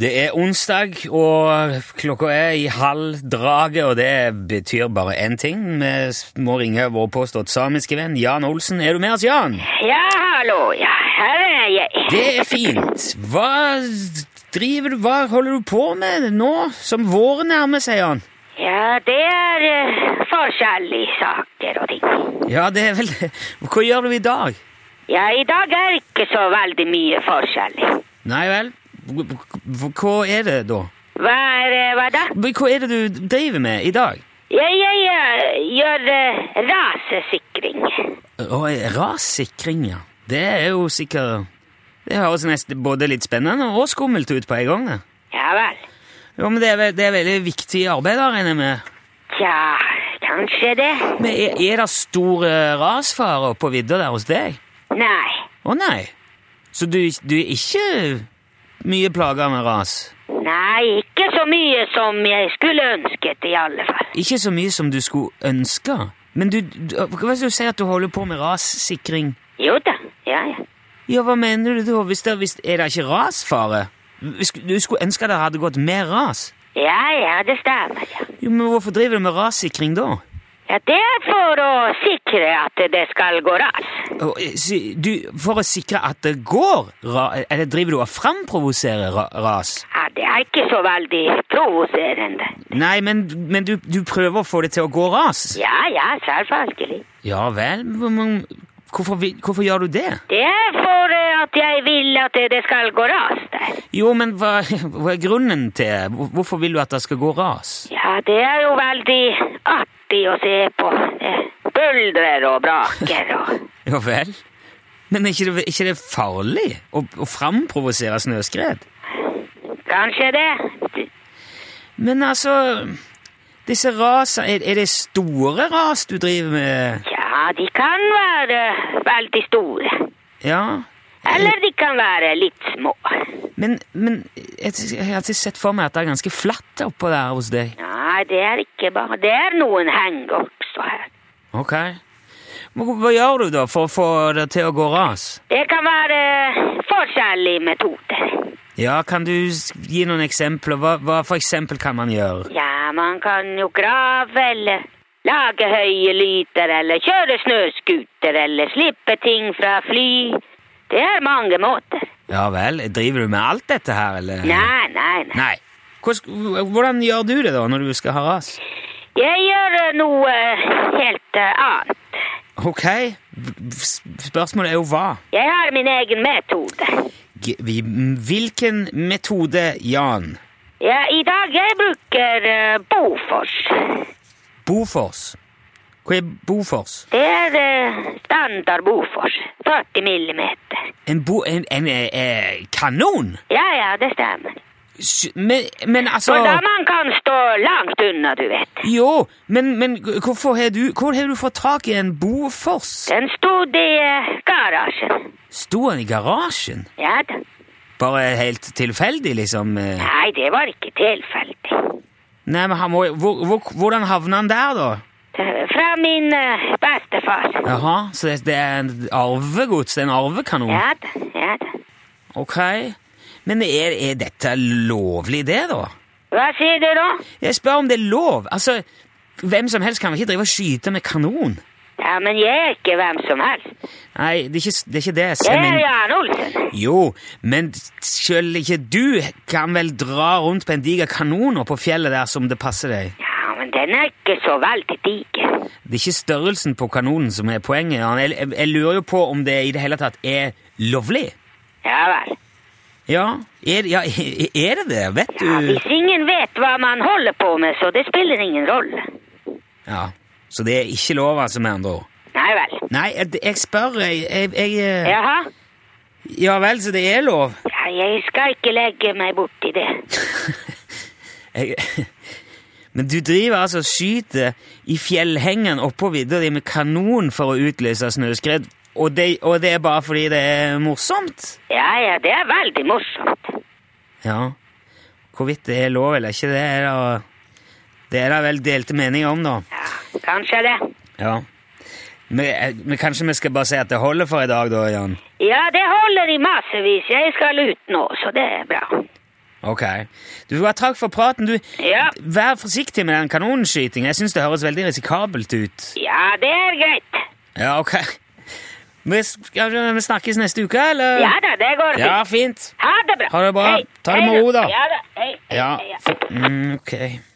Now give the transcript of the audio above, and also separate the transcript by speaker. Speaker 1: Det er onsdag, og klokka er i halv draget, og det betyr bare én ting. Vi må ringe vår påstått samiske venn Jan Olsen. Er du med oss, Jan?
Speaker 2: Ja, hallo. Ja, her er jeg.
Speaker 1: Det er fint. Hva driver du Hva holder du på med nå som våren nærmer seg, Jan?
Speaker 2: Ja, det er eh, forskjellige saker og ting.
Speaker 1: Ja, det er vel det. Hva gjør du i dag?
Speaker 2: Ja, i dag er ikke så veldig mye forskjellig.
Speaker 1: Nei vel? Hva er det, da?
Speaker 2: Hva er eh, hva da?
Speaker 1: Hva er det du driver med i dag?
Speaker 2: Ja, jeg eh, gjør eh, rasesikring.
Speaker 1: Og rassikring, ja. Det er jo sikkert Det høres nesten både litt spennende og skummelt ut på en gang. det.
Speaker 2: Ja vel.
Speaker 1: Jo, men det er, ve- det er veldig viktig arbeid, da, regner jeg med.
Speaker 2: Tja, kanskje det.
Speaker 1: Men er, er det stor eh, rasfare på vidda der hos deg?
Speaker 2: Nei.
Speaker 1: Å nei. Så du, du er ikke mye plaga med ras?
Speaker 2: Nei, ikke så mye som jeg skulle ønsket i alle fall.
Speaker 1: Ikke så mye som du skulle ønske? Men du, du Hva er det du sier at du holder på med rassikring?
Speaker 2: Jo da, ja, ja.
Speaker 1: Ja, hva mener du da? Hvis det, hvis, er det ikke rasfare? Hvis- Du skulle ønske det hadde gått mer ras?
Speaker 2: Ja, ja, det stemmer, ja.
Speaker 1: Jo, men hvorfor driver du med rassikring da?
Speaker 2: Ja, det er for å sikre at det skal gå ras.
Speaker 1: Og, eh, si- Du, for å sikre at det går ra... Eller driver du og framprovoserer ra ras?
Speaker 2: Ja, det er ikke så veldig provoserende.
Speaker 1: Nei, men, men du, du prøver å få det til å gå ras?
Speaker 2: Ja, ja, selvfølgelig.
Speaker 1: Ja vel, men hvorfor, vil- hvorfor gjør du det?
Speaker 2: Det er for eh, at jeg vil at det skal gå ras der.
Speaker 1: Jo, men hva, hva er grunnen til hvor- Hvorfor vil du at det skal gå ras?
Speaker 2: Ja, det er jo veldig artig å se på. eh, Buldrer og braker og
Speaker 1: Ja vel? Men er ikke det, er ikke det farlig å, å framprovosere snøskred?
Speaker 2: Kanskje det?
Speaker 1: Men altså Disse rasene er, er det store ras du driver med?
Speaker 2: Ja, de kan være veldig store.
Speaker 1: Ja.
Speaker 2: Eller de kan være litt små.
Speaker 1: Men, men jeg, jeg har alltid sett for meg at det er ganske flatt oppå der hos deg.
Speaker 2: Nei, det er ikke bare Det er noen heng også her.
Speaker 1: Ok. Men hva gjør du da for å få det til å gå ras?
Speaker 2: Det kan være eh, forskjellige metoder.
Speaker 1: Ja, kan du s- gi noen eksempler? Hva, hva for eksempel kan man gjøre?
Speaker 2: Ja, man kan jo grave eller lage høye lyder eller kjøre snøskuter eller slippe ting fra fly. Det er mange måter.
Speaker 1: Ja vel, driver du med alt dette her, eller?
Speaker 2: Nei, nei, nei.
Speaker 1: Nei. Hvordan, hvordan gjør du det da, når du skal ha ras?
Speaker 2: Jeg gjør eh, noe helt eh, annet.
Speaker 1: Ok, s- spørsmålet er jo hva?
Speaker 2: Jeg har min egen metode.
Speaker 1: G- vi- Hvilken metode, Jan?
Speaker 2: Ja, I dag jeg bruker eh, Bofors.
Speaker 1: Bofors. Hva er Bofors?
Speaker 2: Det er eh, standard Bofors. 40 millimeter.
Speaker 1: En, bo, en, en, eh, eh, kanon?
Speaker 2: Ja, ja, det stemmer.
Speaker 1: Sj- Men, men altså
Speaker 2: For da man kan stå langt unna, du vet.
Speaker 1: Jo, men, men hvorfor har du, hvor har du fått tak i en Bofors?
Speaker 2: Den stod i eh, garasjen.
Speaker 1: Sto den i garasjen?
Speaker 2: Ja da.
Speaker 1: Bare helt tilfeldig, liksom? eh?
Speaker 2: Nei, det var ikke tilfeldig.
Speaker 1: Nei, men han må, hvor, hvor, Hvordan havna han der, da?
Speaker 2: Eh, Fra min eh, bestefar.
Speaker 1: Jaha, så det, det er en arvegods? Det er en arvekanon?
Speaker 2: Ja da, ja da.
Speaker 1: Ok. Men er, er dette lovlig, det, da?
Speaker 2: Hva sier du nå?
Speaker 1: Jeg spør om det er lov. Altså, Hvem som helst kan vel ikke drive og skyte med kanon?
Speaker 2: Ja, men jeg er ikke hvem som helst.
Speaker 1: Nei, det er ikke det. Er ikke det. jeg
Speaker 2: Jeg er
Speaker 1: mener.
Speaker 2: Jan Olsen.
Speaker 1: Jo, men selv ikke du kan vel dra rundt på en diger kanon oppå fjellet der som det passer deg?
Speaker 2: Ja, men den er ikke så veldig diger.
Speaker 1: Det er ikke størrelsen på kanonen som er poenget. Jan. Jeg, jeg, jeg lurer jo på om det i det hele tatt er lovlig.
Speaker 2: Ja vel.
Speaker 1: Ja, er, ja, er det det? Vet
Speaker 2: Ja,
Speaker 1: du
Speaker 2: hvis ingen vet hva man holder på med, så det spiller ingen rolle.
Speaker 1: Ja, Så det er ikke lov, altså, med andre ord?
Speaker 2: Nei vel.
Speaker 1: Nei, jeg, jeg spør, jeg, jeg, jeg
Speaker 2: Jaha?
Speaker 1: Ja vel, så det er lov?
Speaker 2: Ja, jeg skal ikke legge meg borti det.
Speaker 1: Jeg, men du driver altså og skyter i fjellhengen oppå vidda di med kanon for å utløse snøskred, og det, og det er bare fordi det er morsomt?
Speaker 2: Ja, ja, det er veldig morsomt.
Speaker 1: Ja. Hvorvidt det er lov eller ikke, det er da Det er da vel delte meninger om, da.
Speaker 2: Ja, kanskje det.
Speaker 1: Ja. Men, eh, men kanskje vi skal bare si at det holder for i dag, da, Jan?
Speaker 2: Ja, det holder i massevis. Jeg skal ut nå, så det er bra.
Speaker 1: Ok. Du, hva, Takk for praten. Du,
Speaker 2: Ja.
Speaker 1: Vær forsiktig med den kanonskytingen. Jeg syns det høres veldig risikabelt ut.
Speaker 2: Ja, det er greit.
Speaker 1: Ja, ok. Vi, skal, vi snakkes neste uke, eller?
Speaker 2: Ja da, det går fint.
Speaker 1: Ja, fint.
Speaker 2: Ha det bra.
Speaker 1: Ha det bra.
Speaker 2: Hei.
Speaker 1: Ta det med
Speaker 2: Hei
Speaker 1: ro, da.
Speaker 2: Ja da. Hei. hei,
Speaker 1: Ja.
Speaker 2: hei, ja.
Speaker 1: Mm, ok.